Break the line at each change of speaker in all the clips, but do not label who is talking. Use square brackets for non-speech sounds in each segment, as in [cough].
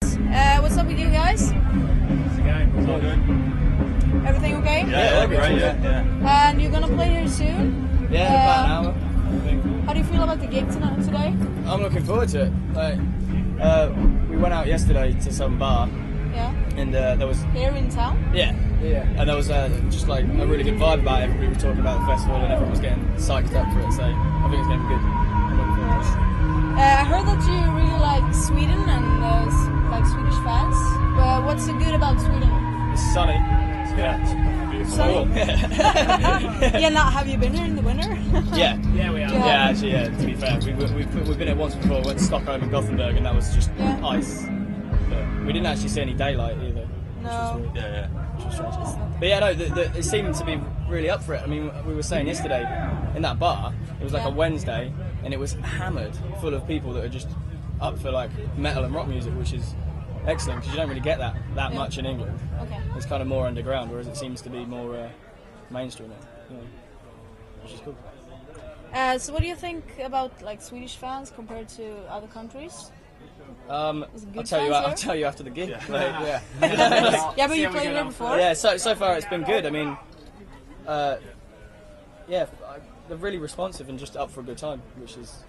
Uh, guys?
It's a game. It's all good.
Everything okay?
Yeah, great. Yeah, yeah.
And you're gonna play here soon.
Yeah, in about an hour.
How do you feel about the gig tonight today?
I'm looking forward to it. Like, uh, we went out yesterday to some bar,
Yeah.
and uh, there was
Here in town.
yeah, yeah, and there was uh, just like a really good vibe about it. Everybody was talking about the festival, and everyone was getting psyched up for it. So I think it's going to be good. I'm looking forward to it.
Uh, I heard that you really like Sweden and uh, s- like Swedish fans. Uh, what's so good about Sweden?
It's sunny.
Yeah, beautiful.
Sunny. [laughs]
Yeah.
Ah, yeah. Now, have you been here in the winter?
[laughs]
[laughs]
yeah.
[laughs] Yeah, we are.
Yeah.
Yeah, actually, yeah. To be fair, we, we, we've, we've been here once before. We went to Stockholm and Gothenburg, and that was just
Yeah.
ice. But we didn't actually see any daylight either.
Oh.
No.
Yeah, yeah.
But yeah, no, the, the, it seemed to be really up for it. I mean, we were saying yesterday in that bar, it was like a
Yeah.
Wednesday, and it was hammered full of people that are just up for like metal and rock music, which is excellent because you don't really get that that
Yeah.
much in England.
Okay.
It's kind of more underground, whereas it seems to be more uh, mainstream. You know, which is cool.
Uh, so, what do you think about like Swedish fans compared to other countries?
Um,
Is it
I'll
good
tell you.
fans
I'll
here?
tell you after the gig.
Yeah.
Like, yeah.
yeah, but
Uh, see
you
how we
played
get
here
on.
before.
Yeah, so so far it's been good. I mean, uh, yeah, I- they're really responsive and just up for a good time, which is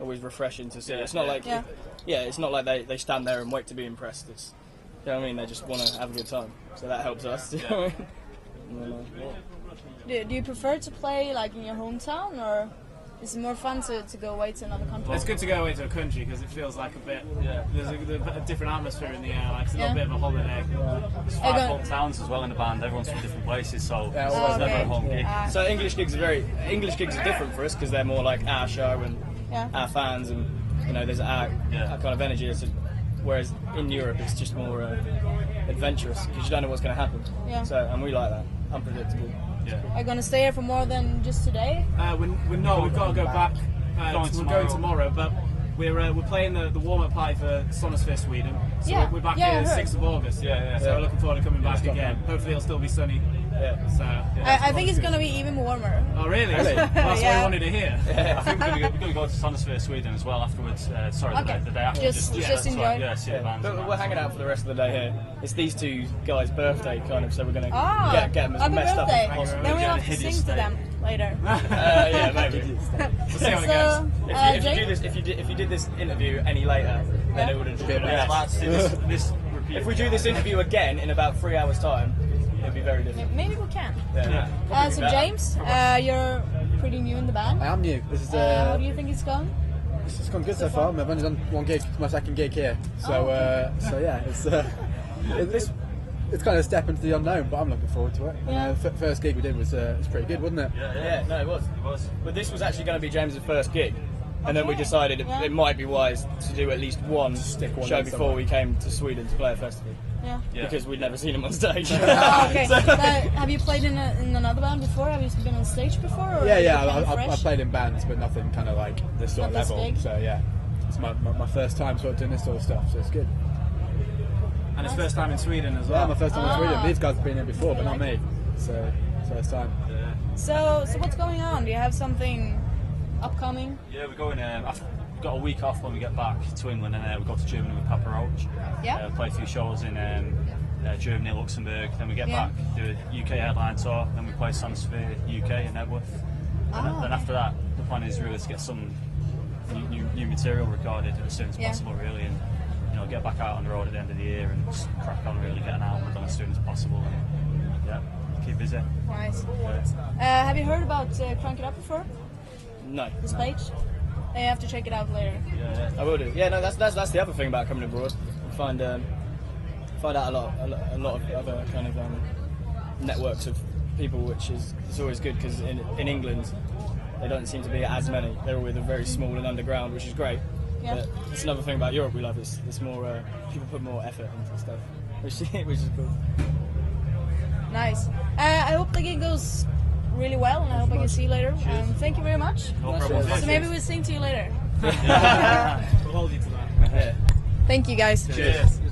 always refreshing to see.
Yeah,
It's not
yeah.
like
Yeah.
yeah. it's not like they, they stand there and wait to be impressed. It's you know what I mean. They just want to have a good time, so that helps us. [laughs] You know what I mean?
Do, do you prefer to play like in your hometown, or is it more fun to, to go away to another country?
It's good to go away to a country because it feels like a bit. Yeah. There's a, there's a different atmosphere in the air. Like it's a
Yeah.
little bit of a holiday.
It's
I
five
don't-
whole towns as well in the band. Everyone's from different places, so
Yeah,
it's
well,
never
Ah, okay.
a home gig.
Ah,
So English gigs are very English gigs are different for us because they're more like our show and
Yeah.
our fans and you know there's our,
Yeah.
our kind of energy. It's a- whereas in Europe it's just more uh, adventurous because you don't know what's going to happen.
Yeah.
So and we like that unpredictable.
Yeah.
are you gonna stay here for more than just today?
Uh, we're, we're not. We've got to go back. Uh,
Going
we're going
tomorrow.
tomorrow, but we're uh, we're playing the, the warm up party for Sonosphere Sweden. So
Yeah.
we're, we're back
Yeah, I
here
heard.
sixth of August.
Yeah, yeah.
So
Yeah.
we're looking forward to coming back
Stockholm.
again. Hopefully it'll still be sunny.
Yeah.
So. yeah.
I, I think it's gonna be even warmer.
Oh really?
Really?
That's what
Yeah.
I wanted to hear.
I think we're going to go, we're gonna go to Sonosphere, Sweden as well afterwards. Uh, sorry,
Okay.
the, day, the day after.
Just-
yeah,
just
that's right.
enjoy.
Yeah, see the bands.
But
[laughs]
we're hanging out for the rest of the day here. It's these two guys' birthday, kind of, so we're going to
Ah,
get, get them as
happy
messed
birthday!
up as possible.
Then we'll
Yeah,
have to sing
hideous
to
day.
them
[laughs]
later.
Uh, yeah,
[laughs]
maybe.
We'll see how it goes.
so, uh,
If, you, if you do
Jake,
this, if you did, if you did this interview any later, then
Yeah.
it wouldn't.
Yeah, lads, see this, this repeat.
If we do this interview again in about three hours' time, it'd be very different.
maybe we can.
Yeah.
Uh, so James, uh, you're pretty new in the band.
I am new. This is
Uh, how
uh,
do you think it's going?
it's gone good so far. I've only done one gig. It's my second gig here. So
Oh,
uh, so yeah, it's uh, it- it's it's kind of a step into the unknown, but I'm looking forward to it.
Yeah.
Uh, f- first gig we did was uh, was pretty good, wasn't it?
Yeah,
Yeah,
yeah.
no, it was.
It was.
But this was actually going to be James's first gig, and then we
Okay.
decided it,
Yeah.
it might be wise to do at least one,
Stick one
show
in
before
somewhere.
we came to Sweden to play a festival
Yeah.
Yeah.
because we'd never seen him on
[laughs]
stage.
Oh, okay.
[laughs] So-
Uh, have you played in, a, in another band before? Have you been on stage before? Or
Yeah,
are you
yeah.
kind
I,
of
I, I
fresh?
played in bands, but nothing kind of like this sort
Not
of
this
level.
big.
So yeah, it's my, my, my first time sort of doing this sort of stuff. So it's good.
And it's first time in Sweden as
Yeah,
well.
my first time in
Ah.
Sweden. These guys have been here before, but not me. So first time.
So, so what's going on? Do you have something upcoming?
Yeah, we're going.
uh,
Um, after, we've got a week off when we get back to England, and uh, we go to Germany with Papa Roach.
Yeah.
Uh, play a few shows in um, uh, Germany, Luxembourg. Then we get
Yeah.
back, do a UK headline tour. Then we play Sansphere UK in Edworth. And
Ah,
then
okay.
after that, the plan is really to get some new, new, new material recorded as soon as
Yeah.
possible, really, and you know get back out on the road at the end of the year and just crack on, really, get an album done as soon as possible. And, yeah, keep busy.
Nice.
Yeah.
Uh, have you heard about uh, Crank It Up before?
no.
This page? Uh, you have to check it out later.
Yeah,
I will do. Yeah, no, that's that's, that's the other thing about coming abroad. You find um, find out a lot, a lot, a lot of other kind of um, networks of people, which is it's always good because in, in England there don't seem to be as many. They're always very small and underground, which is great.
Yeah.
But it's another thing about Europe we love. It's, it's more uh, people put more effort into stuff, [laughs] which which is cool.
Nice. Uh, I hope the gig goes really well, and I hope I can see you later. Um, thank you very much.
no problem.
So maybe we'll sing to you later.
We'll hold you to that.
Yeah.
Thank you, guys.
Cheers.